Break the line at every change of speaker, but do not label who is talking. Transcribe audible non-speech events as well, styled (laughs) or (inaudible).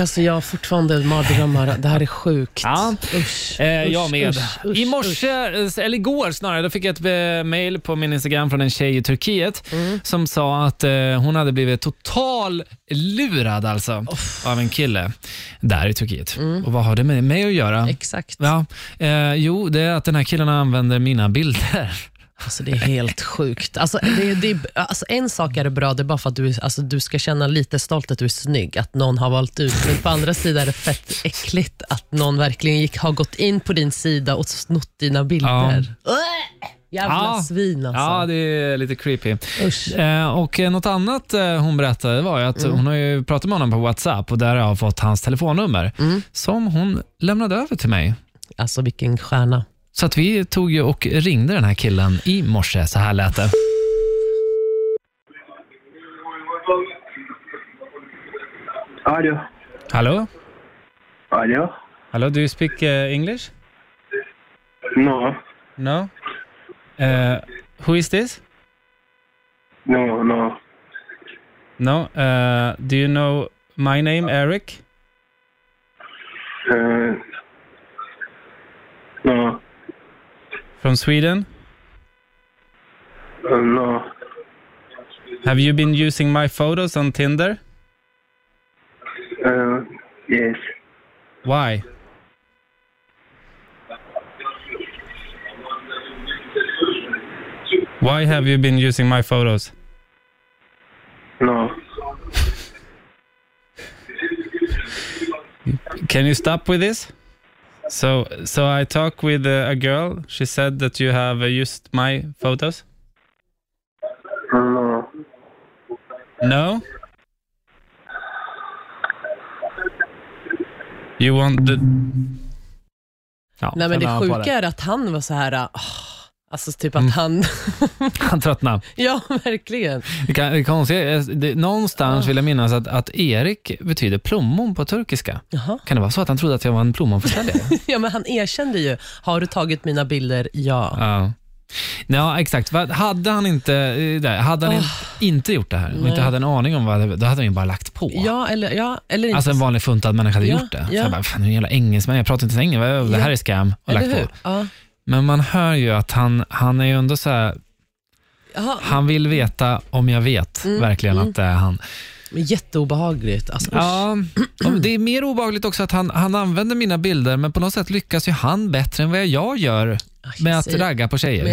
Alltså jag har fortfarande mardrömmar. Det här är sjukt.
Ja.
Usch,
Eh, jag
usch,
med.
usch, usch,
I morse, eh, eller igår snarare, då fick jag ett eh, mail på min Instagram från en tjej i Turkiet
Mm.
som sa att eh, hon hade blivit total lurad alltså av en kille där i Turkiet.
Mm.
Och vad har det med mig att göra?
Exakt.
Ja, eh, jo, det är att den här killen använder mina bilder.
Alltså det är helt sjukt. Alltså, det, det, alltså en sak är det bra, det är bara för att du, alltså, du ska känna lite stolt att du är snygg, att någon har valt ut. Men på andra sidan är det fett äckligt att någon verkligen gick, har gått in på din sida och snott dina bilder. Äh, Jävla
Ja.
svin (laughs) alltså.
Ja, det är lite creepy.
Usch.
Eh, och eh, något annat eh, hon berättade var ju att
Mm.
hon har ju pratat med honom på WhatsApp och där har jag fått hans telefonnummer
Mm.
som hon lämnade över till mig.
Alltså vilken stjärna.
Så att vi tog ju och ringde den här killen i morse. Så här lät det.
Alo.
Hallå?
Alo.
Hallå, do you speak eh, English?
No.
No? Eh, who is this?
No, no.
No? Eh, do you know my name, Eric?
Uh, no.
From Sweden?
Uh, no.
Have you been using my photos on Tinder?
Uh, yes.
Why? Why have you been using my photos?
No.
Can you stop with this? So, so I talked with uh, a girl. She said that you have uh, used my photos.
No.
No. You want the... Ja,
Nej, men det sjuka är att han var så här, ah, alltså typ
Mm.
att han,
Han tröttnade.
(laughs) ja verkligen.
Det kan, det konstiga, är- det, någonstans vill jag minnas att, att Erik betyder plommon på turkiska.
Jaha.
Kan det vara så att han trodde att jag var en plommonförsäljare?
(laughs) Ja, men han erkände ju, har du tagit mina bilder? Ja.
ja. Ja, exakt. Vad- Hade han inte, eh, där, hade han in- inte gjort det här och inte
Nej.
hade en aning om vad det, då hade han ju bara lagt på.
Ja, eller, ja, eller inte.
Alltså en vanlig funtad människa hade
Ja,
gjort det. Så
ja.
jag bara, fan nu är en jävla engelsman, jag pratar inte ens engelska, det här är scam. Och
eller
lagt på.
hur? Ja.
Men man hör ju att han, han är ju ändå så här,
Jaha,
han vill veta om jag vet verkligen att det är han.
Men jätteobehagligt. Alltså, Mm, usch.
Ja, och det är mer obehagligt också att han, han använder mina bilder, men på något sätt lyckas ju han bättre än vad jag gör med att
säger-
ragga på tjejer.